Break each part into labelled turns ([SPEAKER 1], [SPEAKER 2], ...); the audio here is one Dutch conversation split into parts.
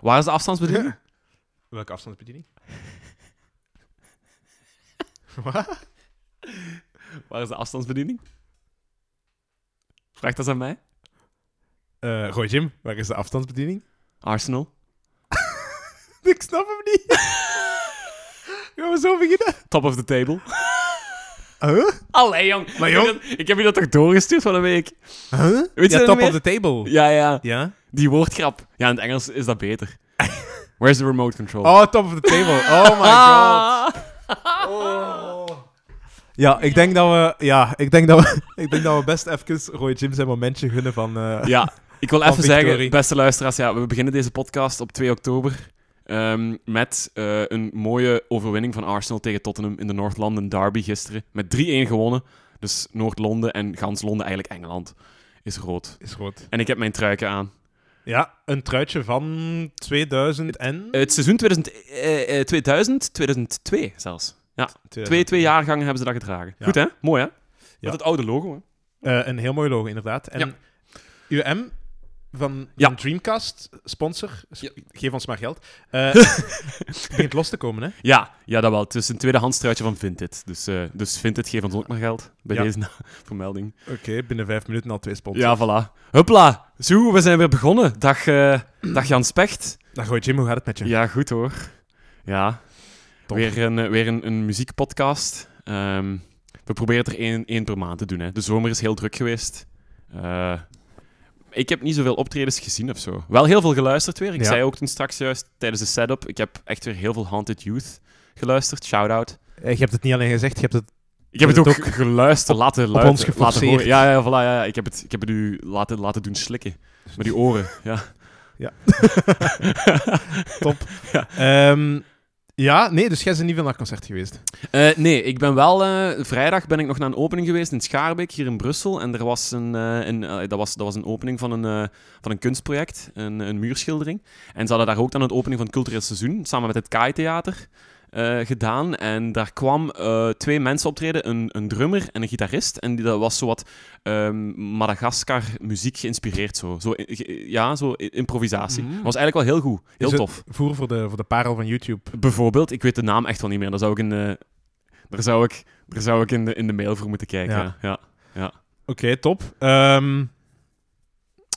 [SPEAKER 1] Waar is de afstandsbediening?
[SPEAKER 2] Welke afstandsbediening?
[SPEAKER 1] Waar is de afstandsbediening? Vraag dat aan mij.
[SPEAKER 2] Eh gooi Jim, waar is de afstandsbediening?
[SPEAKER 1] Arsenal.
[SPEAKER 2] Ik snap hem niet. Gaan we zo beginnen?
[SPEAKER 1] Top of the table.
[SPEAKER 2] Huh?
[SPEAKER 1] Allee, jong.
[SPEAKER 2] Maar jong-
[SPEAKER 1] Ik heb, dat- ik heb je dat toch doorgestuurd van een week?
[SPEAKER 2] Huh?
[SPEAKER 1] Weet je
[SPEAKER 2] ja,
[SPEAKER 1] dat
[SPEAKER 2] top
[SPEAKER 1] niet
[SPEAKER 2] of the table.
[SPEAKER 1] Ja, ja.
[SPEAKER 2] Ja?
[SPEAKER 1] Die woordgrap. Ja, in het Engels is dat beter. Where's the remote control?
[SPEAKER 2] Oh, top of the table. Oh my god.
[SPEAKER 1] Ah.
[SPEAKER 2] Oh. Ja, ik denk dat we, ja, ik denk dat we, ik denk dat we best even Roy Jim zijn momentje gunnen van... eh,
[SPEAKER 1] Ja, ik wil
[SPEAKER 2] Van
[SPEAKER 1] even zeggen,
[SPEAKER 2] Victorie.
[SPEAKER 1] beste luisteraars, ja, we beginnen deze podcast op 2 oktober ehm, met eh, een mooie overwinning van Arsenal tegen Tottenham in de Noord-London derby gisteren. Met 3-1 gewonnen. Dus Noord-Londen en gans Londen, eigenlijk Engeland, is rood.
[SPEAKER 2] Is goed.
[SPEAKER 1] En ik heb mijn truiken aan.
[SPEAKER 2] Ja, een truitje van 2000 en...
[SPEAKER 1] Het seizoen 2000, eh, eh, 2000 2002 zelfs. Ja,
[SPEAKER 2] Eh,
[SPEAKER 1] twee, twee jaargangen hebben ze dat gedragen.
[SPEAKER 2] Ja.
[SPEAKER 1] Goed hè? Mooi hè?
[SPEAKER 2] Ja.
[SPEAKER 1] Met het oude logo hè?
[SPEAKER 2] Eh, een heel mooi logo, inderdaad. En UM van,
[SPEAKER 1] Ja.
[SPEAKER 2] van Dreamcast, sponsor, sp-
[SPEAKER 1] Ja.
[SPEAKER 2] geef ons maar geld, eh, begint los te komen. Hè?
[SPEAKER 1] Ja, ja, dat wel. Het is een tweedehands truitje van Vinted. Dus, eh dus Vinted, geef ons ook maar geld bij
[SPEAKER 2] Ja.
[SPEAKER 1] deze na- vermelding.
[SPEAKER 2] Oké, binnen vijf minuten al twee sponsors.
[SPEAKER 1] Ja, voilà. Huppla. Zo, we zijn weer begonnen. Dag, eh, dag Jan Specht.
[SPEAKER 2] Dan gooi Jim, hoe gaat het met je?
[SPEAKER 1] Ja, goed hoor. Ja.
[SPEAKER 2] Top.
[SPEAKER 1] Weer een, eh, weer een, een muziekpodcast. Ehm, we proberen er één, één per maand te doen. Hè. De zomer is heel druk geweest. Eh, ik heb niet zoveel optredens gezien of zo. Wel heel veel geluisterd weer. Ik
[SPEAKER 2] Ja.
[SPEAKER 1] zei ook toen straks juist tijdens de setup. Ik heb echt weer heel veel Haunted Youth geluisterd. Shout out.
[SPEAKER 2] Eh, je hebt het niet alleen gezegd, je hebt het...
[SPEAKER 1] Ik heb het
[SPEAKER 2] Het
[SPEAKER 1] ook,
[SPEAKER 2] ook
[SPEAKER 1] geluisterd, laten luisteren.
[SPEAKER 2] ons geforceerd.
[SPEAKER 1] Laten horen. Ja, ja, voilà, ja, ja. Ik, heb het, ik heb het u laten, laten doen slikken. Met die oren, ja.
[SPEAKER 2] Ja.
[SPEAKER 1] Top. Ja.
[SPEAKER 2] Ehm, ja, nee, dus jij bent niet veel naar het concert geweest.
[SPEAKER 1] Eh, nee, ik ben wel... eh, vrijdag ben ik nog naar een opening geweest in Schaarbeek, hier in Brussel. En er was een, eh, een, eh, dat, was, dat was een opening van een, eh, van een kunstproject, een, een muurschildering. En ze hadden daar ook dan het opening van het cultureel seizoen, samen met het Kai Theater, eh, gedaan. En daar kwam eh, twee mensen optreden, een, een drummer en een gitarist. En die, dat was zowat ehm Madagaskar muziek geïnspireerd. Zo. Zo, i- ge- ja, zo i- improvisatie.
[SPEAKER 2] Mm.
[SPEAKER 1] was eigenlijk wel heel goed, heel
[SPEAKER 2] Is het
[SPEAKER 1] tof.
[SPEAKER 2] Voer voor de, voor de parel van YouTube.
[SPEAKER 1] Bijvoorbeeld, ik weet de naam echt wel niet meer. Daar zou ik in de, daar zou ik, daar zou ik in de, in de mail voor moeten kijken.
[SPEAKER 2] Ja.
[SPEAKER 1] Ja. Ja.
[SPEAKER 2] Oké, top. Ehm,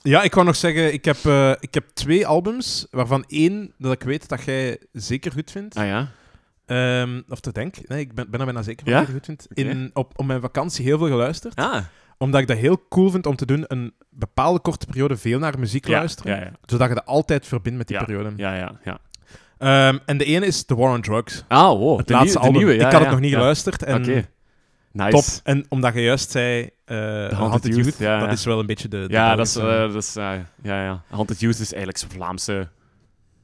[SPEAKER 2] ja, ik wou nog zeggen, ik heb, eh, ik heb twee albums, waarvan één dat ik weet dat jij zeker goed vindt.
[SPEAKER 1] Ah ja?
[SPEAKER 2] Ehm, of te denk. Nee, ik ben, ben er bijna zeker van
[SPEAKER 1] Ja?
[SPEAKER 2] dat ik het goed vind.
[SPEAKER 1] Oké.
[SPEAKER 2] In, op, op mijn vakantie heel veel geluisterd.
[SPEAKER 1] Ah.
[SPEAKER 2] Omdat ik dat heel cool vind om te doen. Een bepaalde korte periode veel naar muziek
[SPEAKER 1] Ja,
[SPEAKER 2] luisteren.
[SPEAKER 1] ja, ja.
[SPEAKER 2] Zodat je dat altijd verbindt met die periode.
[SPEAKER 1] Ja, ja, ja.
[SPEAKER 2] Ehm, en de ene is The War on Drugs. Het
[SPEAKER 1] Ah, wow. de
[SPEAKER 2] laatste
[SPEAKER 1] nieuwe- de
[SPEAKER 2] album.
[SPEAKER 1] nieuwe, ja,
[SPEAKER 2] ik had
[SPEAKER 1] ja,
[SPEAKER 2] het nog niet
[SPEAKER 1] ja.
[SPEAKER 2] geluisterd. En
[SPEAKER 1] Oké. Nice.
[SPEAKER 2] Top. En omdat je juist zei... eh Haunted,
[SPEAKER 1] Youth,
[SPEAKER 2] Youth.
[SPEAKER 1] ja,
[SPEAKER 2] dat
[SPEAKER 1] ja.
[SPEAKER 2] is wel een beetje de... de
[SPEAKER 1] Ja, dat is...
[SPEAKER 2] Belgische-
[SPEAKER 1] eh, dat is eh, ja, ja. Haunted Youth is eigenlijk zo'n Vlaamse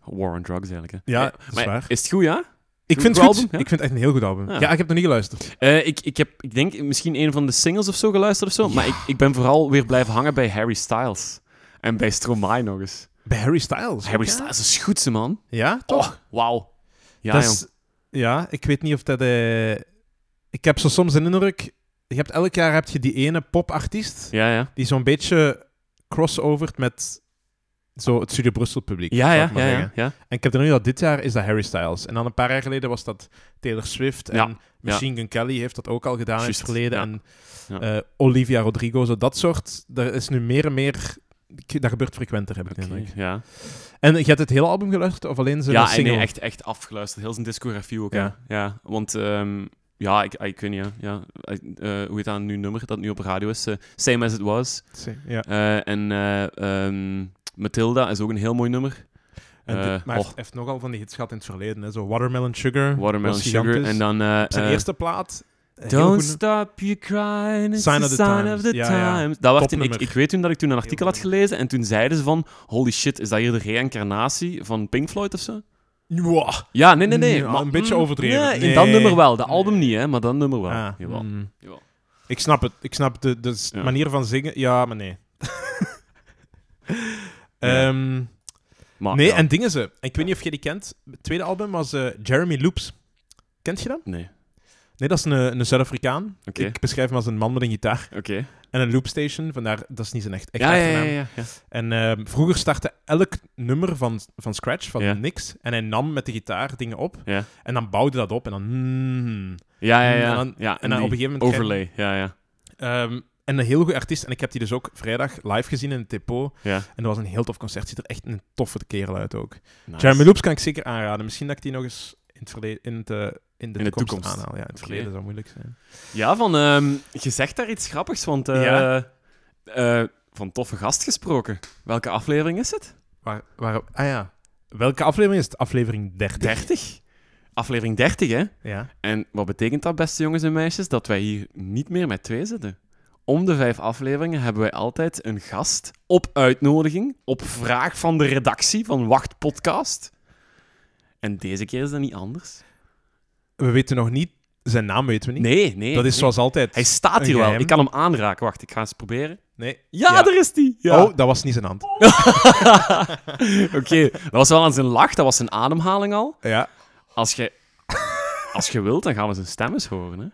[SPEAKER 1] war on drugs eigenlijk. Hè.
[SPEAKER 2] Ja,
[SPEAKER 1] Eh,
[SPEAKER 2] dat is
[SPEAKER 1] maar
[SPEAKER 2] waar.
[SPEAKER 1] Is het goed, ja?
[SPEAKER 2] ik vind
[SPEAKER 1] goed
[SPEAKER 2] het goed.
[SPEAKER 1] album, ja?
[SPEAKER 2] Ik vind het echt een heel goed album.
[SPEAKER 1] Ja.
[SPEAKER 2] Ja, ik heb het nog niet geluisterd.
[SPEAKER 1] Eh, ik, ik heb, ik denk, misschien een van de singles of zo geluisterd of zo. Maar ik, ik ben vooral weer blijven hangen bij Harry Styles. En bij Stromae nog eens.
[SPEAKER 2] Bij Harry Styles.
[SPEAKER 1] Harry
[SPEAKER 2] ja?
[SPEAKER 1] Styles is goed, ze man.
[SPEAKER 2] Ja, toch?
[SPEAKER 1] Wauw. Ja,
[SPEAKER 2] Dat
[SPEAKER 1] jong.
[SPEAKER 2] is- ja, ik weet niet of dat... eh, ik heb zo soms een indruk... Je hebt elk jaar heb je die ene popartiest
[SPEAKER 1] Ja, ja.
[SPEAKER 2] die zo'n beetje crossovert met zo het Studio Brussel publiek.
[SPEAKER 1] Ja,
[SPEAKER 2] zou
[SPEAKER 1] ja,
[SPEAKER 2] ik maar
[SPEAKER 1] ja, ja,
[SPEAKER 2] zeggen.
[SPEAKER 1] ja.
[SPEAKER 2] En ik heb er nu dat dit jaar is dat Harry Styles. En dan een paar jaar geleden was dat Taylor Swift. En
[SPEAKER 1] Ja,
[SPEAKER 2] Machine Gun Kelly heeft dat ook al gedaan in
[SPEAKER 1] Juist,
[SPEAKER 2] het verleden.
[SPEAKER 1] ja.
[SPEAKER 2] En
[SPEAKER 1] Ja.
[SPEAKER 2] eh, Olivia Rodrigo, zo dat soort. Er is nu meer en meer... ik- Dat gebeurt frequenter, heb ik de
[SPEAKER 1] Oké,
[SPEAKER 2] indruk.
[SPEAKER 1] ja.
[SPEAKER 2] En je hebt het hele album geluisterd of alleen zijn
[SPEAKER 1] ja en
[SPEAKER 2] single?
[SPEAKER 1] nee, echt, echt afgeluisterd. Heel zijn discografie ook. Ja.
[SPEAKER 2] Ja.
[SPEAKER 1] ja want ehm, ja, ik, ik weet niet, ja. ja eh, eh, hoe heet dat nu nummer dat nu op radio is? eh, Same As It Was.
[SPEAKER 2] Ja.
[SPEAKER 1] Eh, en eh, ehm, Matilda is ook een heel mooi nummer.
[SPEAKER 2] En dit-
[SPEAKER 1] Eh,
[SPEAKER 2] maar hij
[SPEAKER 1] och.
[SPEAKER 2] heeft, heeft nogal van die hits gehad in het verleden. Hè? Zo Watermelon Sugar.
[SPEAKER 1] Watermelon
[SPEAKER 2] Hm. was
[SPEAKER 1] Sugar.
[SPEAKER 2] gigantisch.
[SPEAKER 1] En dan... eh,
[SPEAKER 2] Op zijn
[SPEAKER 1] eh,
[SPEAKER 2] eerste plaat. een heel
[SPEAKER 1] Don't
[SPEAKER 2] goed-
[SPEAKER 1] stop you crying, it's
[SPEAKER 2] Sign
[SPEAKER 1] a
[SPEAKER 2] of the
[SPEAKER 1] sign
[SPEAKER 2] times.
[SPEAKER 1] of the
[SPEAKER 2] Ja, ja.
[SPEAKER 1] times. Dat werd toen, ik,
[SPEAKER 2] Topnummer.
[SPEAKER 1] ik weet toen dat ik toen een artikel had
[SPEAKER 2] Heel goed.
[SPEAKER 1] gelezen en toen zeiden ze van, holy shit, is dat hier de reïncarnatie van Pink Floyd of zo?
[SPEAKER 2] Mwah.
[SPEAKER 1] Ja, nee, nee, nee.
[SPEAKER 2] Ja, een beetje
[SPEAKER 1] mm,
[SPEAKER 2] overdreven.
[SPEAKER 1] nee, in
[SPEAKER 2] Nee.
[SPEAKER 1] dat nummer wel. Dat album niet, hè, maar dat nummer wel.
[SPEAKER 2] Ah,
[SPEAKER 1] Jawel.
[SPEAKER 2] mm.
[SPEAKER 1] Jawel.
[SPEAKER 2] Ik snap het. Ik snap de, de s-
[SPEAKER 1] Ja.
[SPEAKER 2] manier van zingen. Ja, maar nee.
[SPEAKER 1] Ja.
[SPEAKER 2] Ehm,
[SPEAKER 1] Maar,
[SPEAKER 2] nee,
[SPEAKER 1] ja.
[SPEAKER 2] en dingen ze. Ik weet niet of je die kent. Het tweede album was eh, Jeremy Loops. Kent je dat?
[SPEAKER 1] Nee.
[SPEAKER 2] Nee, dat is een, een Zuid-Afrikaan.
[SPEAKER 1] Oké.
[SPEAKER 2] Ik beschrijf hem als een man met een gitaar
[SPEAKER 1] Oké.
[SPEAKER 2] en een loopstation. Vandaar, dat is niet zijn echt, echt
[SPEAKER 1] Ja, ja, ja,
[SPEAKER 2] achternaam.
[SPEAKER 1] ja, ja.
[SPEAKER 2] En ehm, vroeger startte elk nummer van, van scratch, van
[SPEAKER 1] Ja.
[SPEAKER 2] niks. En hij nam met de gitaar dingen op.
[SPEAKER 1] Ja.
[SPEAKER 2] En dan bouwde dat op. En dan... mm,
[SPEAKER 1] Ja, ja, ja.
[SPEAKER 2] En dan-
[SPEAKER 1] ja,
[SPEAKER 2] en dan
[SPEAKER 1] die
[SPEAKER 2] op een gegeven moment...
[SPEAKER 1] Overlay, ja, ja.
[SPEAKER 2] krijg- ehm, en een heel goede artiest. En ik heb die dus ook vrijdag live gezien in het depot.
[SPEAKER 1] ja.
[SPEAKER 2] En dat was een heel tof concert. Ziet er echt een toffe kerel uit ook.
[SPEAKER 1] Nice.
[SPEAKER 2] Jeremy Loops kan ik zeker aanraden. Misschien dat ik die nog eens in, het verleden, in, het, eh, in de
[SPEAKER 1] de
[SPEAKER 2] toekomst,
[SPEAKER 1] toekomst.
[SPEAKER 2] aanhaal. Ja, in het
[SPEAKER 1] Oké.
[SPEAKER 2] verleden zou moeilijk zijn.
[SPEAKER 1] Ja, van, ehm, je zegt daar iets grappigs, want eh,
[SPEAKER 2] Ja.
[SPEAKER 1] eh, van toffe gast gesproken. Welke aflevering is het?
[SPEAKER 2] Waar, waar, ah ja. Welke aflevering is het? Aflevering 30.
[SPEAKER 1] 30. Aflevering 30, hè?
[SPEAKER 2] Ja.
[SPEAKER 1] En wat betekent dat, beste jongens en meisjes? Dat wij hier niet meer met twee zitten. Om de vijf afleveringen hebben wij altijd een gast op uitnodiging, op vraag van de redactie van Wacht Podcast. En deze keer is dat niet anders.
[SPEAKER 2] We weten nog niet... Zijn naam weten we niet.
[SPEAKER 1] Nee, nee.
[SPEAKER 2] dat is
[SPEAKER 1] nee.
[SPEAKER 2] zoals altijd.
[SPEAKER 1] Hij staat
[SPEAKER 2] een
[SPEAKER 1] hier wel.
[SPEAKER 2] geheim.
[SPEAKER 1] Ik kan hem aanraken. Wacht, ik ga eens proberen.
[SPEAKER 2] Nee.
[SPEAKER 1] Ja,
[SPEAKER 2] Ja.
[SPEAKER 1] daar is die. Ja.
[SPEAKER 2] Oh, dat was niet zijn hand.
[SPEAKER 1] Oké, dat was wel aan zijn lach, dat was zijn ademhaling al.
[SPEAKER 2] Ja.
[SPEAKER 1] Als je, als je wilt, dan gaan we zijn stem eens horen. Hè.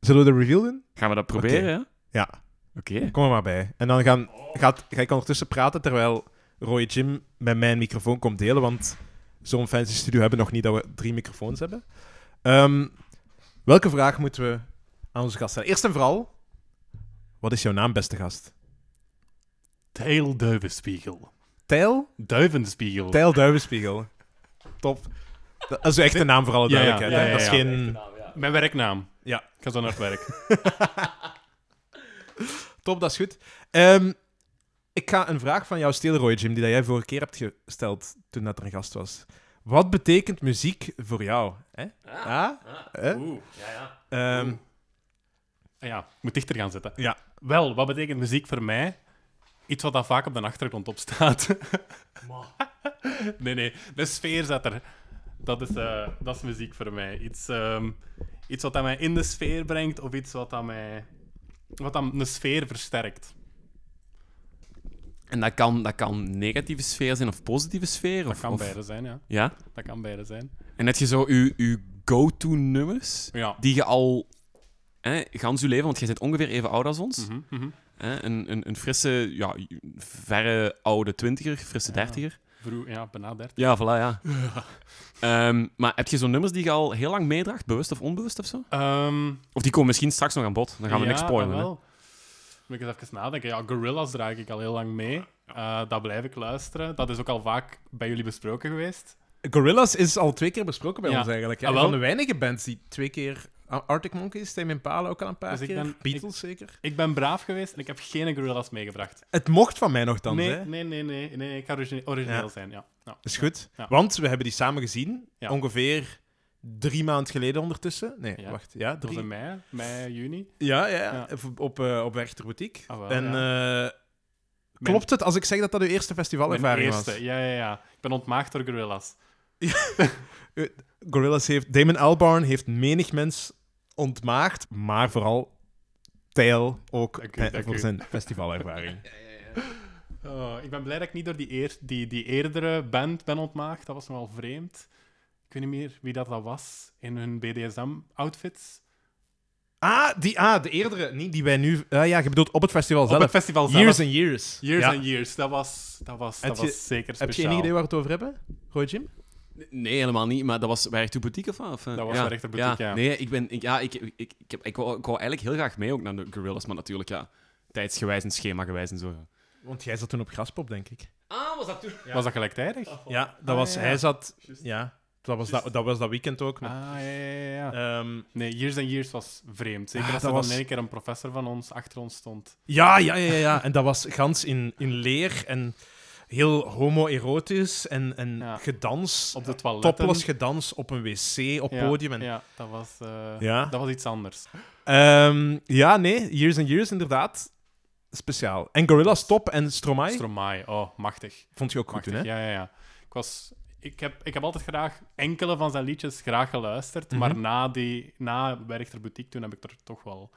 [SPEAKER 2] Zullen we de reveal doen?
[SPEAKER 1] Gaan we dat proberen,
[SPEAKER 2] Oké.
[SPEAKER 1] ja?
[SPEAKER 2] Ja.
[SPEAKER 1] Oké.
[SPEAKER 2] Kom er maar bij. En dan gaan, gaat, ga ik ondertussen praten terwijl Roy Jim met mijn microfoon komt delen. Want zo'n fancy studio hebben we nog niet dat we drie microfoons hebben. Ehm, welke vraag moeten we aan onze gast stellen? Eerst en vooral, wat is jouw naam, beste gast?
[SPEAKER 3] Tijl Duivenspiegel.
[SPEAKER 2] Tijl?
[SPEAKER 3] Duivenspiegel.
[SPEAKER 2] Tijl Duivenspiegel. Top. Dat is uw echte naam voor alle
[SPEAKER 3] Ja, ja.
[SPEAKER 2] duidelijkheid.
[SPEAKER 3] Ja,
[SPEAKER 2] hè?
[SPEAKER 3] ja,
[SPEAKER 2] Dat is
[SPEAKER 3] ja.
[SPEAKER 2] geen...
[SPEAKER 3] Mijn werknaam.
[SPEAKER 2] Ja.
[SPEAKER 3] Ik ga zo naar het werk.
[SPEAKER 2] Top, dat is goed. Ehm, ik ga een vraag van jou stelen, Roy Jim, die dat jij vorige keer hebt gesteld toen dat er een gast was. Wat betekent muziek voor jou? Hè? Ja? Hè?
[SPEAKER 3] Ah. Oeh, ja, ja.
[SPEAKER 2] Ehm,
[SPEAKER 3] Ah Ja, ik moet dichter gaan zitten.
[SPEAKER 2] Ja.
[SPEAKER 3] Wel, wat betekent muziek voor mij? Iets wat daar vaak op de achtergrond op staat. nee, nee. De sfeer zat er. Dat is, eh, dat is muziek voor mij. Iets, ehm, iets wat dat mij in de sfeer brengt of iets wat dat mij... Wat dan een sfeer versterkt.
[SPEAKER 1] En dat kan, dat kan negatieve sfeer zijn of positieve sfeer?
[SPEAKER 3] Dat
[SPEAKER 1] of,
[SPEAKER 3] kan
[SPEAKER 1] of-
[SPEAKER 3] beide zijn, ja.
[SPEAKER 1] Ja?
[SPEAKER 3] Dat kan beide zijn.
[SPEAKER 1] En heb je zo je, je go-to-nummers,
[SPEAKER 3] Ja.
[SPEAKER 1] die je al... Hè, gans je leven, want jij bent ongeveer even oud als ons.
[SPEAKER 3] Mhm, mhm.
[SPEAKER 1] Hè, een, een, een frisse, ja, verre oude twintiger, frisse dertiger.
[SPEAKER 3] Vroeg, ja, bijna dertig.
[SPEAKER 1] Ja, voilà, ja. Ehm, maar heb je zo'n nummers die je al heel lang meedraagt, bewust of onbewust of zo?
[SPEAKER 3] Ehm,
[SPEAKER 1] Of die komen misschien straks nog aan bod. Dan gaan we
[SPEAKER 3] ja,
[SPEAKER 1] niks spoilen. Hè?
[SPEAKER 3] jawel. Moet ik eens even nadenken. Ja, Gorillas draag ik al heel lang mee. Eh, dat blijf ik luisteren. Dat is ook al vaak bij jullie besproken geweest.
[SPEAKER 2] Gorillaz is al twee keer besproken bij
[SPEAKER 3] Ja.
[SPEAKER 2] ons eigenlijk. hè?
[SPEAKER 3] Ah, wel.
[SPEAKER 2] Van de weinige bands die twee keer... Ah, Arctic Monkeys, Tame Impala ook al een paar
[SPEAKER 3] Dus ik
[SPEAKER 2] keer.
[SPEAKER 3] ben-
[SPEAKER 2] Beatles zeker.
[SPEAKER 3] Ik ben braaf geweest en ik heb geen Gorillas meegebracht.
[SPEAKER 2] Het mocht van mij nogthans,
[SPEAKER 3] nee,
[SPEAKER 2] hè?
[SPEAKER 3] nee, nee, nee, nee. Ik ga origine- origineel
[SPEAKER 2] Ja.
[SPEAKER 3] zijn, ja. ja.
[SPEAKER 2] Is goed.
[SPEAKER 3] Ja.
[SPEAKER 2] Want we hebben die samen gezien.
[SPEAKER 3] Ja.
[SPEAKER 2] Ongeveer drie maanden geleden ondertussen. Nee,
[SPEAKER 3] Ja.
[SPEAKER 2] wacht. Ja,
[SPEAKER 3] Dat
[SPEAKER 2] drie,
[SPEAKER 3] was in mei, mei, juni.
[SPEAKER 2] Ja, ja, ja.
[SPEAKER 3] Ja.
[SPEAKER 2] Op, op, eh, op Werchter Boutique.
[SPEAKER 3] Ah, wel,
[SPEAKER 2] en eh,
[SPEAKER 3] Mijn-
[SPEAKER 2] klopt het als ik zeg dat dat uw eerste
[SPEAKER 3] Mijn
[SPEAKER 2] festivalervaring was?
[SPEAKER 3] eerste, ja, ja, ja. Ik ben ontmaagd door Gorillas.
[SPEAKER 2] Gorillaz heeft... Damon Albarn heeft menig mens ontmaagd, maar vooral Tijl ook
[SPEAKER 3] Dank u,
[SPEAKER 2] eh,
[SPEAKER 3] dank
[SPEAKER 2] voor
[SPEAKER 3] u.
[SPEAKER 2] zijn festivalervaring.
[SPEAKER 3] Oh, ik ben blij dat ik niet door die, eer- die, die eerdere band ben ontmaagd. Dat was nogal vreemd. Ik weet niet meer wie dat, dat was in hun BDSM-outfits.
[SPEAKER 2] ah, die, ah, de eerdere. Niet die wij nu... ah ja, je bedoelt op het festival
[SPEAKER 3] Op
[SPEAKER 2] zelf.
[SPEAKER 3] het festival zelf.
[SPEAKER 2] Years and Years.
[SPEAKER 3] Years
[SPEAKER 2] Ja.
[SPEAKER 3] and Years, dat was, dat was,
[SPEAKER 2] Heb
[SPEAKER 3] dat
[SPEAKER 2] je-
[SPEAKER 3] was zeker
[SPEAKER 2] Heb je
[SPEAKER 3] speciaal.
[SPEAKER 2] geen idee waar we het over hebben, Roy Jim?
[SPEAKER 1] Nee, helemaal niet. Maar dat was bij Rechter Boutique of wat? Of, eh,
[SPEAKER 3] Dat was
[SPEAKER 1] ja.
[SPEAKER 3] bij Rechter Boutique, ja.
[SPEAKER 1] Nee, ik ben... Ik, ja, ik, ik, ik, ik, heb, ik, wou, ik wou eigenlijk heel graag mee ook naar de Gorillas, maar natuurlijk, ja, tijdsgewijs en schemagewijs en zo.
[SPEAKER 2] Want jij zat toen op Graspop, denk ik.
[SPEAKER 1] Ah, was dat toen?
[SPEAKER 3] Was dat gelijktijdig? Ah,
[SPEAKER 2] Ja, dat
[SPEAKER 3] Ah,
[SPEAKER 2] was...
[SPEAKER 3] ja, ja.
[SPEAKER 2] Hij zat...
[SPEAKER 3] Juist.
[SPEAKER 2] Ja, dat was
[SPEAKER 3] Juist. Ah.
[SPEAKER 2] dat, dat was dat weekend ook. met-
[SPEAKER 3] ja, ja, ja. ja.
[SPEAKER 2] ehm,
[SPEAKER 3] Nee, Years and Years was vreemd. Zeker
[SPEAKER 2] Ah,
[SPEAKER 3] als
[SPEAKER 2] dat
[SPEAKER 3] er dan
[SPEAKER 2] was-
[SPEAKER 3] in één keer een professor van ons achter ons stond.
[SPEAKER 2] Ja, ja, ja, ja. En dat was gans in, in leer en heel homoerotisch en, en
[SPEAKER 3] Ja.
[SPEAKER 2] gedans,
[SPEAKER 3] Op de toiletten.
[SPEAKER 2] topless gedans op een wc, op
[SPEAKER 3] Ja,
[SPEAKER 2] podium. En, ja.
[SPEAKER 3] Ja, dat was, eh,
[SPEAKER 2] Ja.
[SPEAKER 3] dat was iets anders.
[SPEAKER 2] Ehm, ja, nee, Years and Years inderdaad. Speciaal. En Gorillas top en Stromae
[SPEAKER 3] Stromae, oh, machtig.
[SPEAKER 2] vond je ook goed
[SPEAKER 3] Machtig,
[SPEAKER 2] doen, hè?
[SPEAKER 3] Ja, ja, ja. Ik, was, ik, heb, ik heb altijd graag enkele van zijn liedjes graag geluisterd,
[SPEAKER 2] Mhm.
[SPEAKER 3] maar na, die, na Werchter Boutique toen heb ik er toch wel,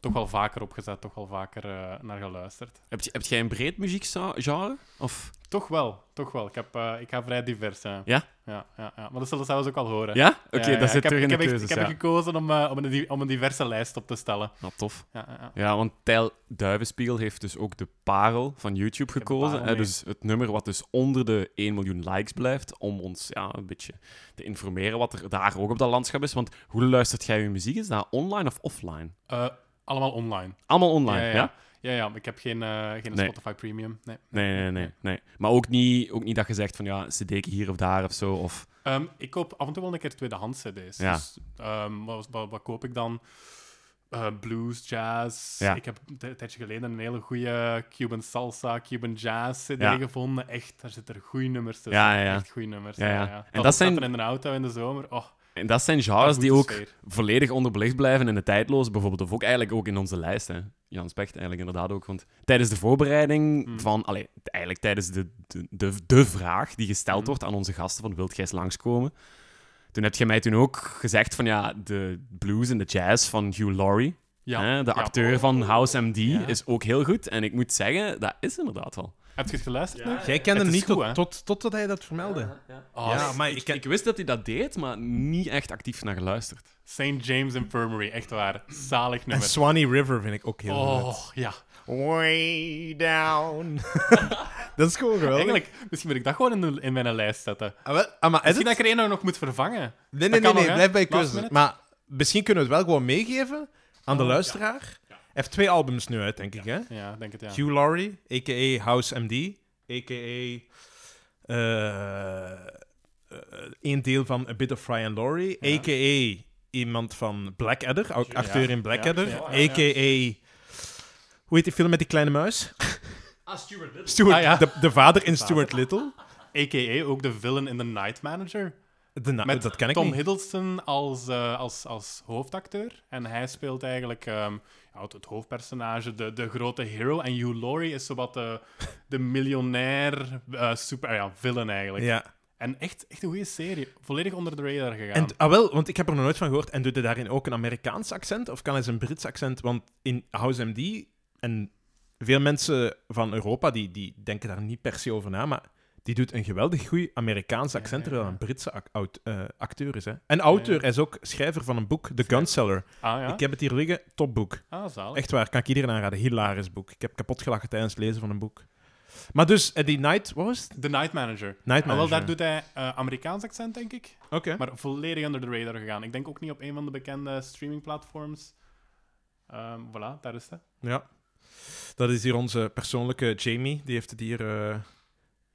[SPEAKER 3] toch wel vaker op gezet, toch wel vaker eh, naar geluisterd.
[SPEAKER 1] Heb, je- heb jij een breed muziekgenre? Of...
[SPEAKER 3] Toch wel, toch wel. Ik, heb, eh, ik ga vrij divers zijn.
[SPEAKER 1] Ja?
[SPEAKER 3] Ja, ja, ja. maar dat zullen ze zelfs ook al horen.
[SPEAKER 1] Ja? Oké,
[SPEAKER 3] Ja, ja,
[SPEAKER 1] dat zit
[SPEAKER 3] ik heb,
[SPEAKER 1] terug in
[SPEAKER 3] ik
[SPEAKER 1] de
[SPEAKER 3] heb echt-
[SPEAKER 1] keuzes.
[SPEAKER 3] Ik heb
[SPEAKER 1] ja.
[SPEAKER 3] gekozen om, eh, om, een, di- om een diverse lijst op te stellen.
[SPEAKER 1] Nou, tof.
[SPEAKER 3] Ja, ja, ja.
[SPEAKER 1] Ja, want Tijl Duivenspiegel heeft dus ook de parel van YouTube
[SPEAKER 3] heb de
[SPEAKER 1] gekozen.
[SPEAKER 3] parel
[SPEAKER 1] hè,
[SPEAKER 3] mee.
[SPEAKER 1] dus het nummer wat dus onder de 1 miljoen likes blijft, om ons ja, een beetje te informeren wat er daar ook op dat landschap is. Want hoe luistert jij je muziek? Is dat online of offline?
[SPEAKER 3] Eh, allemaal online.
[SPEAKER 1] Allemaal online, ja?
[SPEAKER 3] ja, ja. ja, ja, maar ik heb geen, eh, geen
[SPEAKER 1] Nee.
[SPEAKER 3] Spotify Premium. Nee.
[SPEAKER 1] Nee, nee, nee, nee. Maar ook niet, ook niet dat je zegt van ja, cd'ke hier of daar of zo. Of...
[SPEAKER 3] Ehm, ik koop af en toe wel een keer tweedehands CD's.
[SPEAKER 1] Ja.
[SPEAKER 3] Dus, ehm, wat, wat, wat koop ik dan? Eh, blues, jazz.
[SPEAKER 1] Ja.
[SPEAKER 3] Ik heb t- een tijdje geleden een hele goede Cuban salsa, Cuban jazz CD
[SPEAKER 1] Ja.
[SPEAKER 3] gevonden. Echt, daar zitten er goede nummers tussen.
[SPEAKER 1] Ja, ja, ja.
[SPEAKER 3] Echt goede nummers. Oh,
[SPEAKER 1] Ja, ja. En
[SPEAKER 3] En
[SPEAKER 1] dat
[SPEAKER 3] dat
[SPEAKER 1] zijn-
[SPEAKER 3] zijn... in de auto in de zomer. Oh,
[SPEAKER 1] En dat zijn
[SPEAKER 3] dat
[SPEAKER 1] genres
[SPEAKER 3] voelt
[SPEAKER 1] die
[SPEAKER 3] de
[SPEAKER 1] ook
[SPEAKER 3] sfeer.
[SPEAKER 1] volledig onderbelicht blijven in de tijdloze. Bijvoorbeeld, of ook eigenlijk ook in onze lijst. Hè. Jan Specht eigenlijk inderdaad ook. Want tijdens de voorbereiding
[SPEAKER 3] Mm.
[SPEAKER 1] van... Allee, eigenlijk tijdens de, de, de, de vraag die gesteld
[SPEAKER 3] Mm.
[SPEAKER 1] wordt aan onze gasten van Wilt Gijs langskomen? Toen heb jij mij toen ook gezegd van ja, de blues en de jazz van Hugh Laurie,
[SPEAKER 3] Ja.
[SPEAKER 1] hè, de
[SPEAKER 3] Ja. Oh.
[SPEAKER 1] acteur van House MD,
[SPEAKER 3] Ja.
[SPEAKER 1] is ook heel goed. En ik moet zeggen, dat is inderdaad wel.
[SPEAKER 3] Heb je het geluisterd? nu?
[SPEAKER 2] Jij kende
[SPEAKER 3] Het
[SPEAKER 2] hem
[SPEAKER 3] is
[SPEAKER 2] niet
[SPEAKER 3] goed,
[SPEAKER 2] tot,
[SPEAKER 3] hè?
[SPEAKER 2] tot, totdat hij dat vermeldde.
[SPEAKER 3] Oh,
[SPEAKER 2] Ja, maar ik
[SPEAKER 1] ik,
[SPEAKER 2] ken-
[SPEAKER 1] ik wist dat hij dat deed, maar niet echt actief naar geluisterd.
[SPEAKER 3] St. James Infirmary, echt waar. Zalig
[SPEAKER 2] En
[SPEAKER 3] nummer.
[SPEAKER 2] Swanee River vind ik ook heel goed.
[SPEAKER 3] Oh, ja.
[SPEAKER 2] Way down. dat is gewoon geweldig.
[SPEAKER 3] Eigenlijk, misschien moet ik dat gewoon in, de- in mijn lijst zetten.
[SPEAKER 2] Ah, wel, ah, maar is
[SPEAKER 3] Misschien
[SPEAKER 2] het-
[SPEAKER 3] dat ik er één nog moet vervangen.
[SPEAKER 2] Nee, nee,
[SPEAKER 3] Dat
[SPEAKER 2] nee,
[SPEAKER 3] kan
[SPEAKER 2] nee,
[SPEAKER 3] nog, hè?
[SPEAKER 2] blijf bij je
[SPEAKER 3] Last
[SPEAKER 2] keuzes.
[SPEAKER 3] minute. Oh,
[SPEAKER 2] Maar misschien kunnen we het wel gewoon meegeven aan de luisteraar. Hij heeft twee albums nu uit, denk ik, hè?
[SPEAKER 3] Ja, ik denk het, ja.
[SPEAKER 2] Hugh Laurie, a.k.a. House MD, a.k.a. eh, eh, één deel van A Bit of Fry and Laurie,
[SPEAKER 3] Ja.
[SPEAKER 2] a.k.a. iemand van Blackadder, ook acteur in Blackadder,
[SPEAKER 3] ja, ja, ja.
[SPEAKER 2] a.k.a. Hoe heet die film met die kleine muis?
[SPEAKER 1] Ah, Stuart
[SPEAKER 2] Stuart,
[SPEAKER 3] Ah, ja.
[SPEAKER 2] de, de vader in Stuart Little.
[SPEAKER 3] A.k.a. ook de villain in The Night Manager.
[SPEAKER 2] De na-
[SPEAKER 3] Met
[SPEAKER 2] dat ken ik
[SPEAKER 3] Tom
[SPEAKER 2] niet.
[SPEAKER 3] Hiddleston als, eh, als, als hoofdacteur. En hij speelt eigenlijk ehm, ja, het, het hoofdpersonage, de, de grote hero. En Hugh Laurie is zowat de, de miljonair eh, super, ah ja, villain eigenlijk.
[SPEAKER 2] Ja.
[SPEAKER 3] En echt, echt een goede serie. Volledig onder de radar gegaan.
[SPEAKER 2] En, ah wel, want ik heb er nog nooit van gehoord. En doet hij daarin ook een Amerikaans accent? Of kan hij zijn Brits accent? Want in House MD, en veel mensen van Europa, die, die denken daar niet per se over na, maar die doet een geweldig goed Amerikaans accent,
[SPEAKER 3] ja,
[SPEAKER 2] terwijl hij
[SPEAKER 3] ja.
[SPEAKER 2] een Britse ac- oud- eh, acteur is. Hè? En auteur, hij is ook schrijver van een boek, The Gunseller.
[SPEAKER 3] ah ja?
[SPEAKER 2] Ik heb het hier liggen, topboek.
[SPEAKER 3] Ah, zalig.
[SPEAKER 2] Echt waar, kan ik iedereen aanraden. Hilarisch boek. Ik heb kapot gelachen tijdens het lezen van een boek. Maar dus, eh, die Night, wat was het?
[SPEAKER 3] The Night Manager.
[SPEAKER 2] Night
[SPEAKER 3] Maar Ah, wel,
[SPEAKER 2] Manager.
[SPEAKER 3] daar doet hij eh, Amerikaans accent, denk ik.
[SPEAKER 2] Oké.
[SPEAKER 3] Maar volledig onder de radar gegaan. Ik denk ook niet op een van de bekende streamingplatforms. Ehm voilà, daar is het.
[SPEAKER 2] Ja. Dat is hier onze persoonlijke Jamie. Die heeft het hier eh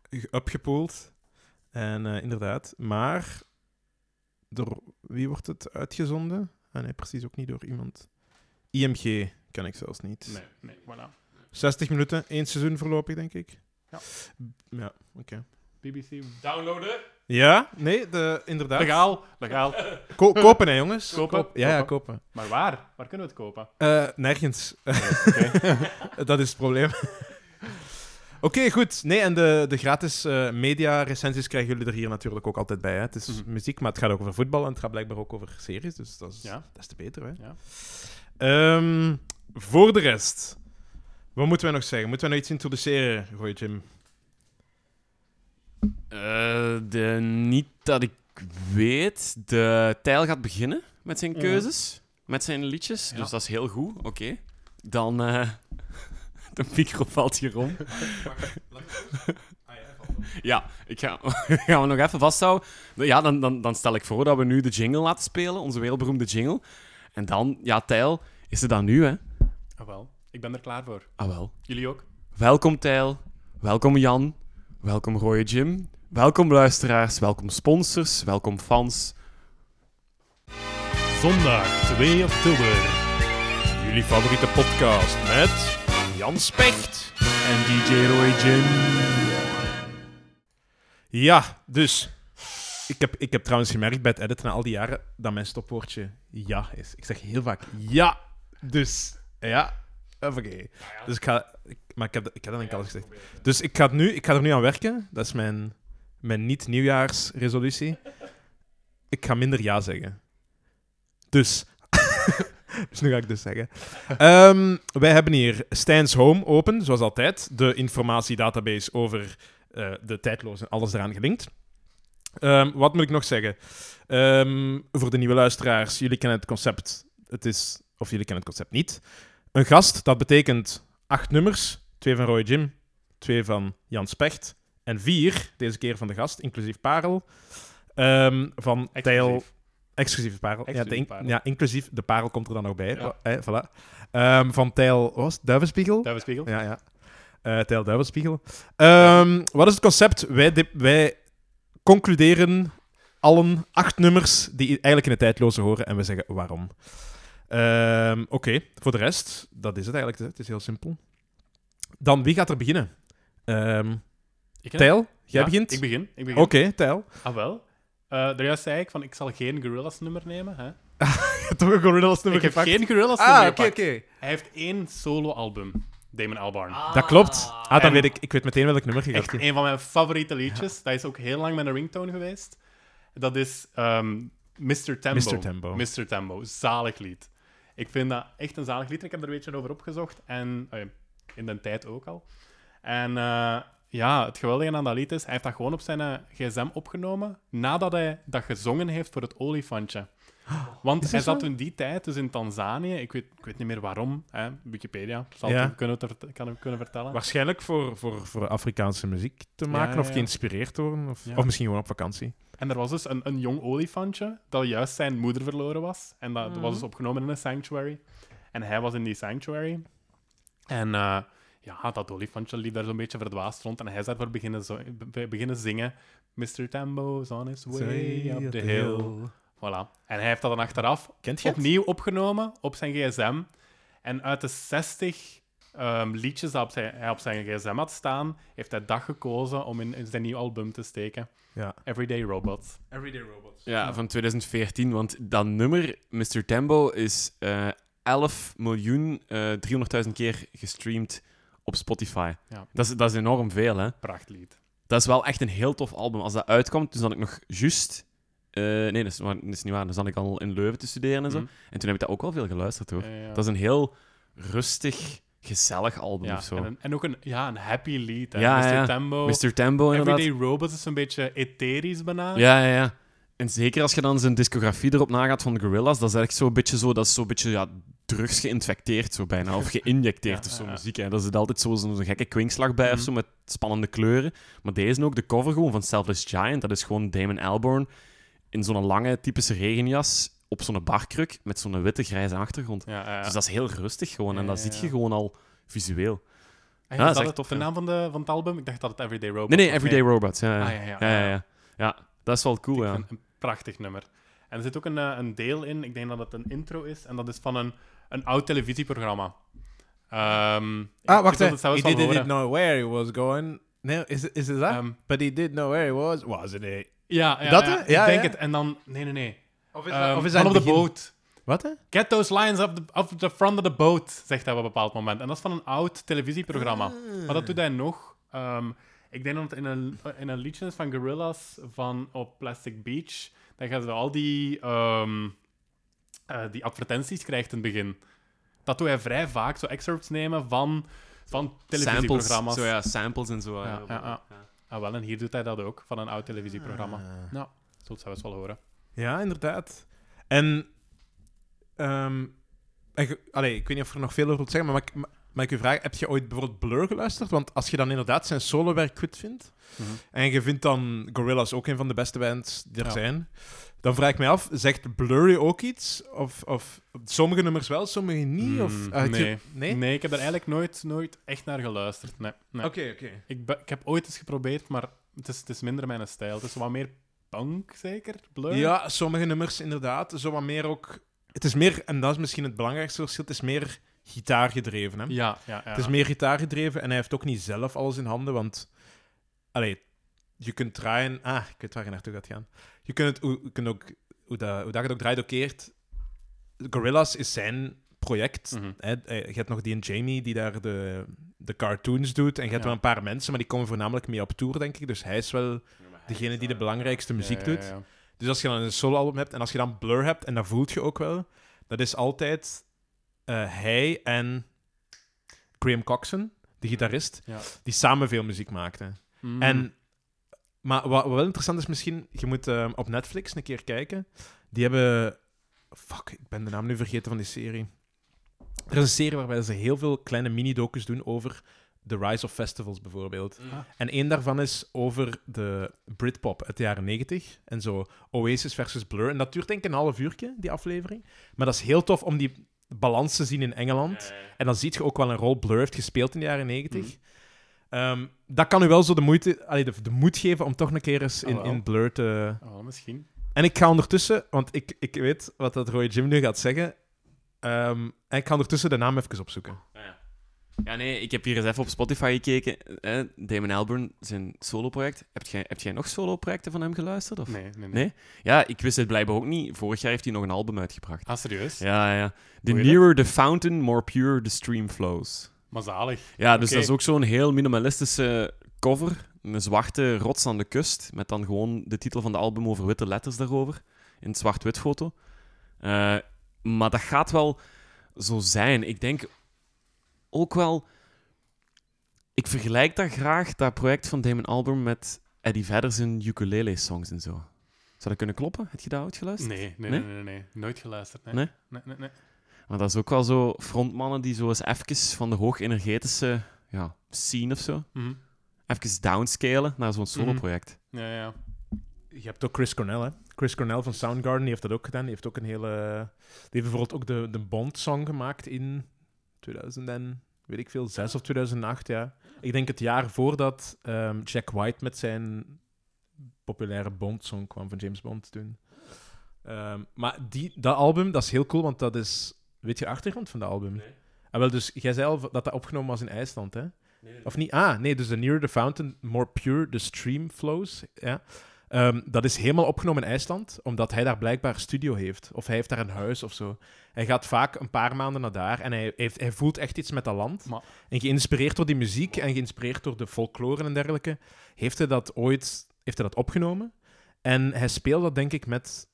[SPEAKER 2] ge- upgepoeld. En eh, inderdaad. Maar door wie wordt het uitgezonden? Ah, nee, precies ook niet door iemand. IMG ken ik zelfs niet.
[SPEAKER 3] Nee, nee, voilà.
[SPEAKER 2] 60 minuten, één seizoen voorlopig, denk ik.
[SPEAKER 3] Ja.
[SPEAKER 2] B- Ja, oké.
[SPEAKER 3] BBC. Downloaden.
[SPEAKER 2] Ja, nee, de, inderdaad.
[SPEAKER 3] Legaal, legaal.
[SPEAKER 2] Ko- kopen, hè, jongens.
[SPEAKER 3] Kopen,
[SPEAKER 2] Koop- Ja, ja,
[SPEAKER 3] kopen.
[SPEAKER 2] kopen.
[SPEAKER 3] Maar waar? Waar kunnen we het kopen?
[SPEAKER 2] Eh, nergens. dat is het probleem. Oké, goed. Nee, en de, de gratis eh media-recensies krijgen jullie er hier natuurlijk ook altijd bij. Hè? Het is
[SPEAKER 3] Mhm.
[SPEAKER 2] muziek, maar het gaat ook over voetbal en het gaat blijkbaar ook over series. Dus dat is,
[SPEAKER 3] Ja.
[SPEAKER 2] dat is te beter. Hè?
[SPEAKER 3] Ja.
[SPEAKER 2] Ehm, voor de rest, wat moeten wij nog zeggen? Moeten wij nog iets introduceren, Gooi Jim?
[SPEAKER 1] Eh, de, niet dat ik weet. De Tijl gaat beginnen met zijn
[SPEAKER 3] Ja.
[SPEAKER 1] keuzes, met zijn liedjes.
[SPEAKER 3] Ja.
[SPEAKER 1] Dus dat is heel goed, oké. Dan... eh, de micro valt hier om. Ja, ik ga, gaan we nog even vasthouden. Ja, dan, dan, dan stel ik voor dat we nu de jingle laten spelen, onze wereldberoemde jingle. En dan, ja, Tijl, is het dan nu, hè?
[SPEAKER 3] Ah, wel. Ik ben er klaar voor.
[SPEAKER 1] Ah, wel.
[SPEAKER 3] Jullie ook?
[SPEAKER 1] Welkom Tijl, welkom Jan, welkom Rooie Jim, welkom luisteraars, welkom sponsors, welkom fans.
[SPEAKER 3] Zondag 2 oktober.
[SPEAKER 2] Jullie favoriete podcast met Jan Specht.
[SPEAKER 1] En DJ Roy Jim.
[SPEAKER 2] Ja, dus. Ik heb, ik heb trouwens gemerkt bij het editen na al die jaren dat mijn stopwoordje ja is. Ik zeg heel vaak ja, dus ja, oké. Dus ik ga, ik- maar ik heb, dat- ik heb dat denk ik al gezegd. Dus ik ga, het nu, ik ga er nu aan werken. Dat is mijn, mijn niet-nieuwjaarsresolutie. Ik ga minder ja zeggen. Dus. dus nu ga ik dus zeggen. Ehm, wij hebben hier Stijn's Home open, zoals altijd. De informatiedatabase over eh, eh, de tijdloos en alles eraan gelinkt. Ehm, wat moet ik nog zeggen? Ehm, voor de nieuwe luisteraars, jullie kennen het concept. Het is, of jullie kennen het concept niet. Een gast, dat betekent acht nummers. Twee van Roy Jim, twee van Jan Specht en vier, deze keer van de gast, inclusief Parel, ehm, van Tijl...
[SPEAKER 3] Exclusief.
[SPEAKER 2] Exclusief Parel. ja,
[SPEAKER 3] Exclusief
[SPEAKER 2] de in-
[SPEAKER 3] Parel.
[SPEAKER 2] ja, inclusief de Parel komt er dan ook bij.
[SPEAKER 3] Ja.
[SPEAKER 2] Eh, voilà. Ehm, van Tijl, wat was het? Duivenspiegel?
[SPEAKER 3] Duiven Spiegel.
[SPEAKER 2] Ja, ja. Eh Tijl Duivenspiegel. Ehm, Wat is het concept? Wij, dip- wij concluderen allen acht nummers die eigenlijk in de tijdloze horen en we zeggen waarom. Ehm, Oké, voor de rest, dat is het eigenlijk. hè. Het is heel simpel. Dan, wie gaat er beginnen? Ehm
[SPEAKER 3] Ik, hè?
[SPEAKER 2] Tijl, jij
[SPEAKER 3] Ja,
[SPEAKER 2] begint?
[SPEAKER 3] Ik begin. Ik begin.
[SPEAKER 2] Oké, Tijl.
[SPEAKER 3] Ah, wel. Eh daarjuist zei ik van, ik zal geen Gorillaz nummer nemen. Hè?
[SPEAKER 2] Toch een Gorillaz
[SPEAKER 3] Ik
[SPEAKER 2] nummer
[SPEAKER 3] heb
[SPEAKER 2] gepakt?
[SPEAKER 3] geen Gorillaz nummer
[SPEAKER 2] Ah, oké,
[SPEAKER 3] gepakt.
[SPEAKER 2] oké.
[SPEAKER 3] Hij heeft één solo-album, Damon Albarn.
[SPEAKER 2] Dat klopt. Ah, dan weet ik, ik weet meteen welk nummer je gaat
[SPEAKER 3] Echt
[SPEAKER 2] doen.
[SPEAKER 3] een van mijn favoriete liedjes. Dat is ook heel lang mijn ringtone geweest. Dat is ehm, Mr. Tembo.
[SPEAKER 2] Mr. Tembo.
[SPEAKER 3] Mr. Tembo. Zalig lied. Ik vind dat echt een zalig lied. Ik heb er een beetje over opgezocht. En oh ja, in de tijd ook al. En eh, ja, het geweldige aan dat lied is... Hij heeft dat gewoon op zijn eh, gsm opgenomen... nadat hij dat gezongen heeft voor het olifantje. Want hij
[SPEAKER 2] dat
[SPEAKER 3] zat
[SPEAKER 2] zo?
[SPEAKER 3] toen die tijd dus in Tanzanië. Ik weet, ik weet niet meer waarom. Hè? Wikipedia zal
[SPEAKER 2] Ja.
[SPEAKER 3] het kunnen, ter- kan, kunnen vertellen.
[SPEAKER 2] Waarschijnlijk voor, voor, voor Afrikaanse muziek te maken
[SPEAKER 3] ja,
[SPEAKER 2] of
[SPEAKER 3] ja.
[SPEAKER 2] geïnspireerd worden. Of,
[SPEAKER 3] Ja.
[SPEAKER 2] of misschien gewoon op vakantie.
[SPEAKER 3] En er was dus een, een jong olifantje dat juist zijn moeder verloren was. En dat,
[SPEAKER 2] Mhm.
[SPEAKER 3] dat was dus opgenomen in een sanctuary. En hij was in die sanctuary. En eh, ja, dat olifantje liep daar zo'n beetje verdwaasd rond. En hij is daarvoor beginnen, zo, be- beginnen zingen. Mr. Tambo's on his way up the hill. Voilà. En hij heeft dat dan achteraf
[SPEAKER 2] Kent je het?
[SPEAKER 3] opnieuw opgenomen op zijn gsm. En uit de 60 ehm, liedjes die op zijn, hij op zijn gsm had staan, heeft hij dat gekozen om in, in zijn nieuw album te steken.
[SPEAKER 2] Ja.
[SPEAKER 3] Everyday Robots.
[SPEAKER 1] Ja, van 2014, want dat nummer, Mr. Tembo, is eh 11 miljoen eh, 300.000 keer gestreamd op Spotify.
[SPEAKER 3] Ja.
[SPEAKER 1] Dat, is, dat is enorm veel, hè?
[SPEAKER 3] Prachtlied.
[SPEAKER 1] Dat is wel echt een heel tof album. Als dat uitkwam, toen zat ik nog juist... eh, nee, dat is, waar- dat is niet waar. Dan zat ik al in Leuven te studeren en zo.
[SPEAKER 3] Mhm.
[SPEAKER 1] En toen heb ik dat ook wel veel geluisterd, hoor.
[SPEAKER 3] Ja, ja, ja.
[SPEAKER 1] Dat is een heel rustig, gezellig album
[SPEAKER 3] ja,
[SPEAKER 1] of zo.
[SPEAKER 3] En, een- en ook een, ja, een happy lied. Hè?
[SPEAKER 1] Ja,
[SPEAKER 3] Mr.
[SPEAKER 1] ja, ja.
[SPEAKER 3] Tembo.
[SPEAKER 1] Mr. Tembo, inderdaad.
[SPEAKER 3] Everyday Robots is een beetje etherisch bijna.
[SPEAKER 1] Ja, ja, ja. En zeker als je dan zijn discografie erop nagaat van de Gorillaz, dat is echt zo'n beetje zo, dat is zo'n beetje ja, drugs geïnfecteerd zo bijna, of geïnjecteerd
[SPEAKER 3] Ja,
[SPEAKER 1] of zo
[SPEAKER 3] ja, ja.
[SPEAKER 1] muziek. Hè. Daar zit altijd zo'n zo zo'n gekke kwinkslag bij of
[SPEAKER 3] Mhm.
[SPEAKER 1] zo, met spannende kleuren. Maar deze ook, de cover gewoon van Selfless Giant, dat is gewoon Damon Albarn in zo'n lange, typische regenjas op zo'n barkruk met zo'n witte, grijze achtergrond.
[SPEAKER 3] Ja, ja, ja.
[SPEAKER 1] Dus dat is heel rustig gewoon, en
[SPEAKER 3] Ja,
[SPEAKER 1] dat
[SPEAKER 3] ja,
[SPEAKER 1] ziet
[SPEAKER 3] ja.
[SPEAKER 1] je gewoon al visueel. ja,
[SPEAKER 3] Ah,
[SPEAKER 1] dat is
[SPEAKER 3] dat
[SPEAKER 1] echt
[SPEAKER 3] het-
[SPEAKER 1] tof,
[SPEAKER 3] De
[SPEAKER 1] ja.
[SPEAKER 3] naam van, de, van het album? Ik dacht dat het Everyday Robots
[SPEAKER 1] Nee, nee,
[SPEAKER 3] was.
[SPEAKER 1] Everyday Robots. Ja, ja.
[SPEAKER 3] Ah, ja, ja,
[SPEAKER 1] ja,
[SPEAKER 3] ja,
[SPEAKER 1] ja, ja. Ja, dat is wel cool, ja.
[SPEAKER 3] Ik vind het een prachtig nummer. En er zit ook een, eh, een deel in, ik denk dat het een intro is, en dat is van een, een oud televisieprogramma. Ehm, ik-
[SPEAKER 2] Ah, wacht
[SPEAKER 3] ik wil het
[SPEAKER 2] even.
[SPEAKER 3] zelfs
[SPEAKER 2] He
[SPEAKER 3] wel
[SPEAKER 2] didn't
[SPEAKER 3] horen.
[SPEAKER 2] know where he was going. Nee, is, it- is it that?
[SPEAKER 3] Ehm,
[SPEAKER 2] But he did know where he was. Was it eh?
[SPEAKER 3] ja, ja,
[SPEAKER 2] Dat,
[SPEAKER 3] ja,
[SPEAKER 2] hè? Ja,
[SPEAKER 3] ik denk
[SPEAKER 2] ja.
[SPEAKER 3] het. En dan, nee, nee, nee.
[SPEAKER 2] Of
[SPEAKER 3] Ehm, dan op de boot.
[SPEAKER 2] Wat, hè?
[SPEAKER 3] Get those lines up the, up the front of the boat, zegt hij op een bepaald moment. En dat is van een oud televisieprogramma. Maar
[SPEAKER 2] Ah.
[SPEAKER 3] dat doet hij nog. ehm, ik denk dat het in een, in een liedje is van Gorillaz van op Plastic Beach. Dan gaan ze al die, ehm, eh, die advertenties krijgt in het begin. Dat doet hij vrij vaak, zo excerpts nemen van, van televisieprogramma's.
[SPEAKER 1] Zo ja, samples en zo.
[SPEAKER 3] Ja, ja, ja. Ah, wel, en hier doet hij dat ook, van een oud
[SPEAKER 2] Ah.
[SPEAKER 3] televisieprogramma. Nou, zult zelfs wel horen.
[SPEAKER 2] Ja, inderdaad. En... ehm, en ge- allee, ik weet niet of je er nog veel over wilt zeggen, maar mag, ik- mag ik u vragen, heb je ooit bijvoorbeeld Blur geluisterd? Want als je dan inderdaad zijn solowerk goed vindt,
[SPEAKER 3] Mhm.
[SPEAKER 2] en je vindt dan Gorillaz ook een van de beste bands die er
[SPEAKER 3] Ja.
[SPEAKER 2] zijn, dan vraag ik mij af, zegt Blurry ook iets? Of, of sommige nummers wel, sommige niet? of,
[SPEAKER 3] Mm,
[SPEAKER 2] eh, heb je-
[SPEAKER 3] nee.
[SPEAKER 2] nee?
[SPEAKER 3] Nee? ik heb er eigenlijk nooit, nooit echt naar geluisterd. Nee, nee.
[SPEAKER 2] Oké, oké.
[SPEAKER 3] Ik, be- ik heb ooit eens geprobeerd, maar het is, het is minder mijn stijl. Het is wat meer punk, zeker? Blur?
[SPEAKER 2] Ja, sommige nummers inderdaad. Zo wat meer ook... Het is meer, en dat is misschien het belangrijkste verschil, het is meer gitaargedreven. Hè?
[SPEAKER 3] Ja, ja, ja.
[SPEAKER 2] Het is meer gitaargedreven en hij heeft ook niet zelf alles in handen, want... Allee, je kunt draaien... Ah, ik weet waar je naartoe gaat gaan. Je kunt, het, hoe, je kunt ook... Hoe dat, hoe dat je het ook draait ook keert. Gorillaz is zijn project.
[SPEAKER 3] Mhm.
[SPEAKER 2] Hè, eh, je hebt nog die en Jamie die daar de, de cartoons doet. En je hebt
[SPEAKER 3] Ja.
[SPEAKER 2] wel een paar mensen, maar die komen voornamelijk mee op tour, denk ik. Dus hij is wel degene die de belangrijkste muziek
[SPEAKER 3] Ja, ja,
[SPEAKER 2] doet.
[SPEAKER 3] ja.
[SPEAKER 2] Dus als je dan een soloalbum hebt en als je dan Blur hebt, en dat voelt je ook wel, dat is altijd eh, hij en Graham Coxon, de gitarist,
[SPEAKER 3] Ja.
[SPEAKER 2] die samen veel muziek maakten.
[SPEAKER 3] Mhm.
[SPEAKER 2] En, maar wat, wat wel interessant is misschien, je moet ehm, op Netflix een keer kijken. Die hebben... Fuck, ik ben de naam nu vergeten van die serie. Er is een serie waarbij ze heel veel kleine mini-docus doen over de rise of festivals bijvoorbeeld.
[SPEAKER 3] Ah.
[SPEAKER 2] En één daarvan is over de Britpop uit de jaren 90 En zo Oasis versus Blur. En dat duurt denk ik een half uurtje, die aflevering. Maar dat is heel tof om die balans te zien in Engeland. En dan ziet je ook wel een rol Blur heeft gespeeld in de jaren 90.
[SPEAKER 3] Mhm.
[SPEAKER 2] Ehm, dat kan u wel zo de moeite, allee, de, de moed geven om toch een keer eens in,
[SPEAKER 3] Ah, wel.
[SPEAKER 2] in Blur te.
[SPEAKER 3] Oh, misschien.
[SPEAKER 2] En ik ga ondertussen, want ik, ik weet wat dat Roy Jim nu gaat zeggen. Ehm, en ik ga ondertussen de naam even opzoeken.
[SPEAKER 1] Ja, nee, ik heb hier eens even op Spotify gekeken. Eh, Damon Albarn, zijn solo-project. Heb jij, heb jij nog solo-projecten van hem geluisterd? Of?
[SPEAKER 3] Nee, nee, nee.
[SPEAKER 1] Nee? Ja, ik wist het blijkbaar ook niet. Vorig jaar heeft hij nog een album uitgebracht.
[SPEAKER 3] Ah, serieus?
[SPEAKER 1] Ja, ja. The
[SPEAKER 3] Moeilijk.
[SPEAKER 1] nearer the fountain, more pure the stream flows.
[SPEAKER 3] Maar zalig.
[SPEAKER 1] Ja, dus
[SPEAKER 3] Oké.
[SPEAKER 1] dat is ook zo'n heel minimalistische cover. Een zwarte rots aan de kust, met dan gewoon de titel van de album over witte letters daarover. In het zwart-wit foto. Eh, maar dat gaat wel zo zijn. Ik denk ook wel... Ik vergelijk dat graag, dat project van Damon Albarn, met Eddie Vedder zijn ukulele-songs en zo. Zou dat kunnen kloppen? Heb je dat uitgeluisterd?
[SPEAKER 3] Nee, nee,
[SPEAKER 1] Nee?
[SPEAKER 3] nee, nee, nee. Nooit geluisterd. Nee.
[SPEAKER 1] Nee?
[SPEAKER 3] Nee, nee, nee.
[SPEAKER 1] Maar dat is ook wel zo frontmannen die zo eens even van de hoog-energetische ja, scene of zo,
[SPEAKER 3] Mhm.
[SPEAKER 1] even downscalen naar zo'n solo-project.
[SPEAKER 3] Ja, ja.
[SPEAKER 2] Je hebt ook Chris Cornell, hè? Chris Cornell van Soundgarden, die heeft dat ook gedaan. Die heeft ook een hele. Die heeft bijvoorbeeld ook de, de Bond-song gemaakt in 2000 en weet ik veel, 6 of 2008, ja. Ik denk het jaar voordat ehm, Jack White met zijn populaire Bond-song kwam van James Bond toen. Ehm, maar die, dat album, dat is heel cool, want dat is. Weet je de achtergrond van dat album? Ah, wel, dus jij zei al dat dat opgenomen was in IJsland, hè? Of niet? Ah, nee, dus The Nearer the Fountain, More Pure, The Stream Flows. Ja. Ehm, dat is helemaal opgenomen in IJsland, omdat hij daar blijkbaar studio heeft. Of hij heeft daar een huis of zo. Hij gaat vaak een paar maanden naar daar en hij, heeft, hij voelt echt iets met dat land.
[SPEAKER 3] Maar-
[SPEAKER 2] En geïnspireerd door die muziek en geïnspireerd door de folklore en dergelijke, heeft hij dat ooit heeft hij dat opgenomen. En hij speelt dat denk ik met,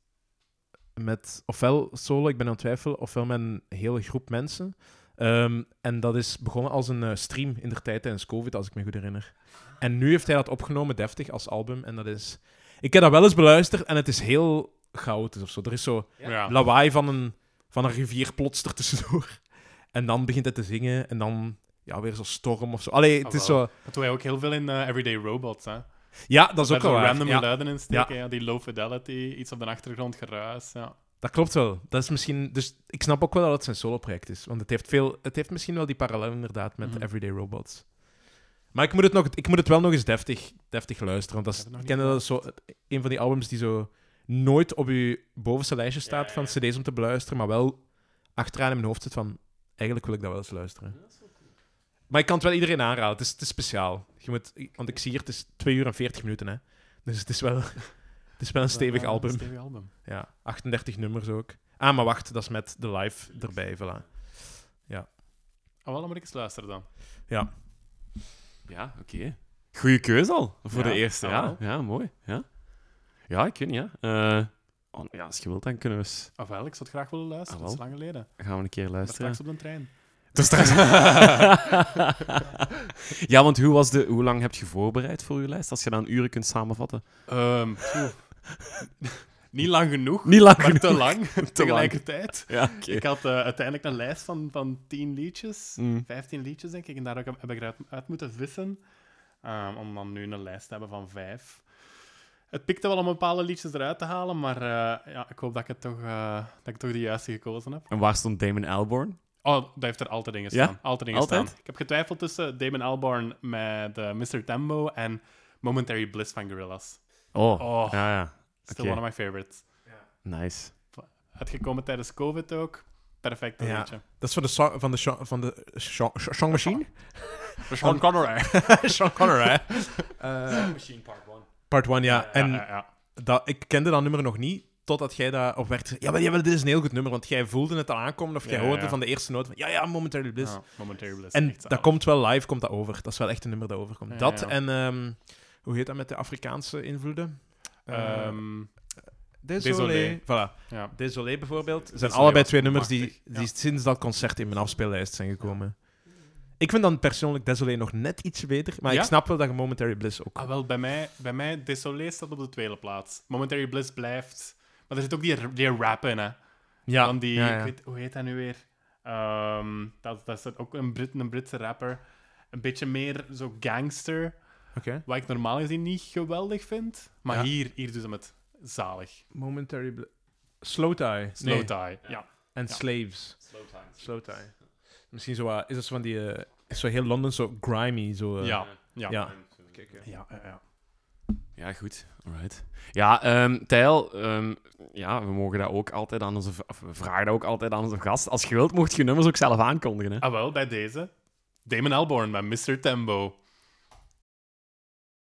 [SPEAKER 2] met ofwel solo, ik ben aan het twijfelen, ofwel met een hele groep mensen. Ehm, en dat is begonnen als een eh, stream in de tijd tijdens COVID, als ik me goed herinner. En nu heeft hij dat opgenomen, deftig, als album. En dat is... Ik heb dat wel eens beluisterd en het is heel chaotisch of zo. Er is zo
[SPEAKER 3] ja. ja.
[SPEAKER 2] lawaai van een, van een rivier plots ertussendoor. En dan begint hij te zingen en dan ja, weer zo'n storm of zo. Allee, het is
[SPEAKER 3] Ah,
[SPEAKER 2] zo...
[SPEAKER 3] wel. Dat doen wij ook heel veel in eh, Everyday Robots. Hè.
[SPEAKER 2] Ja, dat is ook wel
[SPEAKER 3] Daar zo
[SPEAKER 2] waar.
[SPEAKER 3] random
[SPEAKER 2] Ja,
[SPEAKER 3] geluiden in steken. Ja. die low fidelity, iets op de achtergrond, geruis. Ja.
[SPEAKER 2] dat klopt wel. Dat is misschien... Dus ik snap ook wel dat het zijn solo-project is. Want het heeft, veel, het heeft misschien wel die parallel inderdaad met
[SPEAKER 3] Mhm.
[SPEAKER 2] Everyday Robots. Maar ik moet het, nog, ik moet het wel nog eens deftig, deftig luisteren. Want dat
[SPEAKER 3] Ik heb het
[SPEAKER 2] is, ik ken
[SPEAKER 3] nog niet
[SPEAKER 2] dat als zo, een van die albums die zo nooit op je bovenste lijstje staat van cd's om te beluisteren, maar wel achteraan in mijn hoofd zit van eigenlijk wil ik dat wel eens luisteren. Maar ik kan het wel iedereen aanraden. Het is, het is speciaal. Je moet, want ik zie hier, het is 2 uur en 40 minuten. Hè. Dus het is wel, het is wel een stevig
[SPEAKER 3] Ja,
[SPEAKER 2] album.
[SPEAKER 3] Een stevig album.
[SPEAKER 2] Ja, 38 nummers ook. Ah, maar wacht, dat is met de live erbij, voilà.
[SPEAKER 3] Ah, wel, dan moet ik eens luisteren dan.
[SPEAKER 2] Ja.
[SPEAKER 1] Ja, oké. Goeie keuze al, voor
[SPEAKER 3] Ja,
[SPEAKER 1] de eerste. Ja,
[SPEAKER 3] jawel.
[SPEAKER 1] ja mooi. Ja. ja, ik weet niet, ja. Eh, oh, ja, als je wilt, dan kunnen we eens...
[SPEAKER 3] Ah, wel, ik zou het graag willen luisteren.
[SPEAKER 1] Ah,
[SPEAKER 3] dat
[SPEAKER 1] wel.
[SPEAKER 3] is lang geleden.
[SPEAKER 1] Gaan we een keer
[SPEAKER 3] Maar
[SPEAKER 1] luisteren.
[SPEAKER 3] straks op de trein.
[SPEAKER 1] Tot straks. ja, want hoe, was de, hoe lang heb je voorbereid voor je lijst? Als je dan uren kunt samenvatten.
[SPEAKER 3] Ehm, poeh. Niet lang genoeg,
[SPEAKER 1] Niet lang
[SPEAKER 3] maar
[SPEAKER 1] genoeg.
[SPEAKER 3] te lang tegelijkertijd.
[SPEAKER 1] Ja, oké.
[SPEAKER 3] Ik had eh, uiteindelijk een lijst van, van 10 liedjes,
[SPEAKER 1] Mm.
[SPEAKER 3] 15 liedjes denk ik, en daar ook heb ik eruit uit moeten vissen. ehm, om dan nu een lijst te hebben van 5. Het pikte wel om bepaalde liedjes eruit te halen, maar eh, ja, ik hoop dat ik, het toch, eh, dat ik toch de juiste gekozen heb.
[SPEAKER 1] En waar stond Damon Albarn?
[SPEAKER 3] Oh, dat heeft er altijd in
[SPEAKER 1] Ja?
[SPEAKER 3] gestaan. Altijd in
[SPEAKER 1] Altijd?
[SPEAKER 3] gestaan. Ik heb getwijfeld tussen Damon Albarn met eh, Mr. Tembo en Momentary Bliss van Gorillaz.
[SPEAKER 1] Oh,
[SPEAKER 3] Oh.
[SPEAKER 1] ja, ja.
[SPEAKER 3] Still
[SPEAKER 1] Oké.
[SPEAKER 3] one of my favorites.
[SPEAKER 1] Nice.
[SPEAKER 3] Uitgekomen tijdens COVID ook. Perfect
[SPEAKER 2] Ja.
[SPEAKER 3] liedje.
[SPEAKER 2] Dat is van de, song- van de, song- van de song- song Machine?
[SPEAKER 3] Sean Connery.
[SPEAKER 2] Sean Connor, hè?
[SPEAKER 3] Eh,
[SPEAKER 2] Eh, Part 1, ja. En
[SPEAKER 3] ja, ja.
[SPEAKER 2] Dat, ik kende dat nummer nog niet, totdat jij daar op werd gezegd. Ja, maar jawel, dit is een heel goed nummer, want jij voelde het al aankomen of jij
[SPEAKER 3] Ja,
[SPEAKER 2] hoorde
[SPEAKER 3] ja.
[SPEAKER 2] van de eerste noot van, ja, ja, Momentary Bliss.
[SPEAKER 3] Ja, Momentary Bliss.
[SPEAKER 2] en
[SPEAKER 3] echt
[SPEAKER 2] dat
[SPEAKER 3] zalig.
[SPEAKER 2] komt wel live, komt dat over. Dat is wel echt een nummer dat overkomt.
[SPEAKER 3] Ja,
[SPEAKER 2] dat
[SPEAKER 3] ja.
[SPEAKER 2] en, ehm, hoe heet dat met de Afrikaanse invloeden? Eh,
[SPEAKER 3] Ehm,
[SPEAKER 2] Désolé.
[SPEAKER 3] Désolé.
[SPEAKER 2] Voilà.
[SPEAKER 3] ja.
[SPEAKER 2] Désolé bijvoorbeeld. zijn
[SPEAKER 3] Désolé
[SPEAKER 2] allebei
[SPEAKER 3] was
[SPEAKER 2] twee nummers die,
[SPEAKER 3] machtig,
[SPEAKER 2] die
[SPEAKER 3] ja.
[SPEAKER 2] sinds dat concert in mijn afspeellijst zijn gekomen. Ik vind dan persoonlijk Desolé nog net iets beter. Maar
[SPEAKER 3] Ja?
[SPEAKER 2] ik snap wel dat je Momentary Bliss ook...
[SPEAKER 3] Ah, wel, bij mij, bij mij Desolé staat op de tweede plaats. Momentary Bliss blijft. Maar er zit ook die, die rap in, hè.
[SPEAKER 2] Ja,
[SPEAKER 3] Van die,
[SPEAKER 2] ja, ja.
[SPEAKER 3] ik weet- hoe heet dat nu weer? Ehm, dat, dat is dat ook een, Brit, een Britse rapper. Een beetje meer zo gangster.
[SPEAKER 2] Oké.
[SPEAKER 3] Wat ik normaal gezien niet geweldig vind. Maar
[SPEAKER 2] Ja.
[SPEAKER 3] hier, hier doen ze het zalig.
[SPEAKER 2] Momentary Bliss... Slow Tie.
[SPEAKER 3] Slow
[SPEAKER 2] Nee.
[SPEAKER 3] tie. Ja.
[SPEAKER 2] En
[SPEAKER 3] Ja.
[SPEAKER 2] Slaves.
[SPEAKER 3] Slow tie.
[SPEAKER 2] Slow Tie. Misschien zo... wat- is dat zo van die... eh, is zo heel Londen, zo grimy. Zo, eh,
[SPEAKER 3] Ja. Ja. Ja.
[SPEAKER 2] ja.
[SPEAKER 3] ja, ja.
[SPEAKER 1] Ja, goed. Alright. Ja, ehm Tijl, ehm, ja, we mogen dat ook altijd aan onze... v- of we vragen dat ook altijd aan onze gast. Als je wilt, mocht je nummers ook zelf aankondigen, hè.
[SPEAKER 3] Ah, wel, bij deze. Damon Alborn bij Mr. Tembo.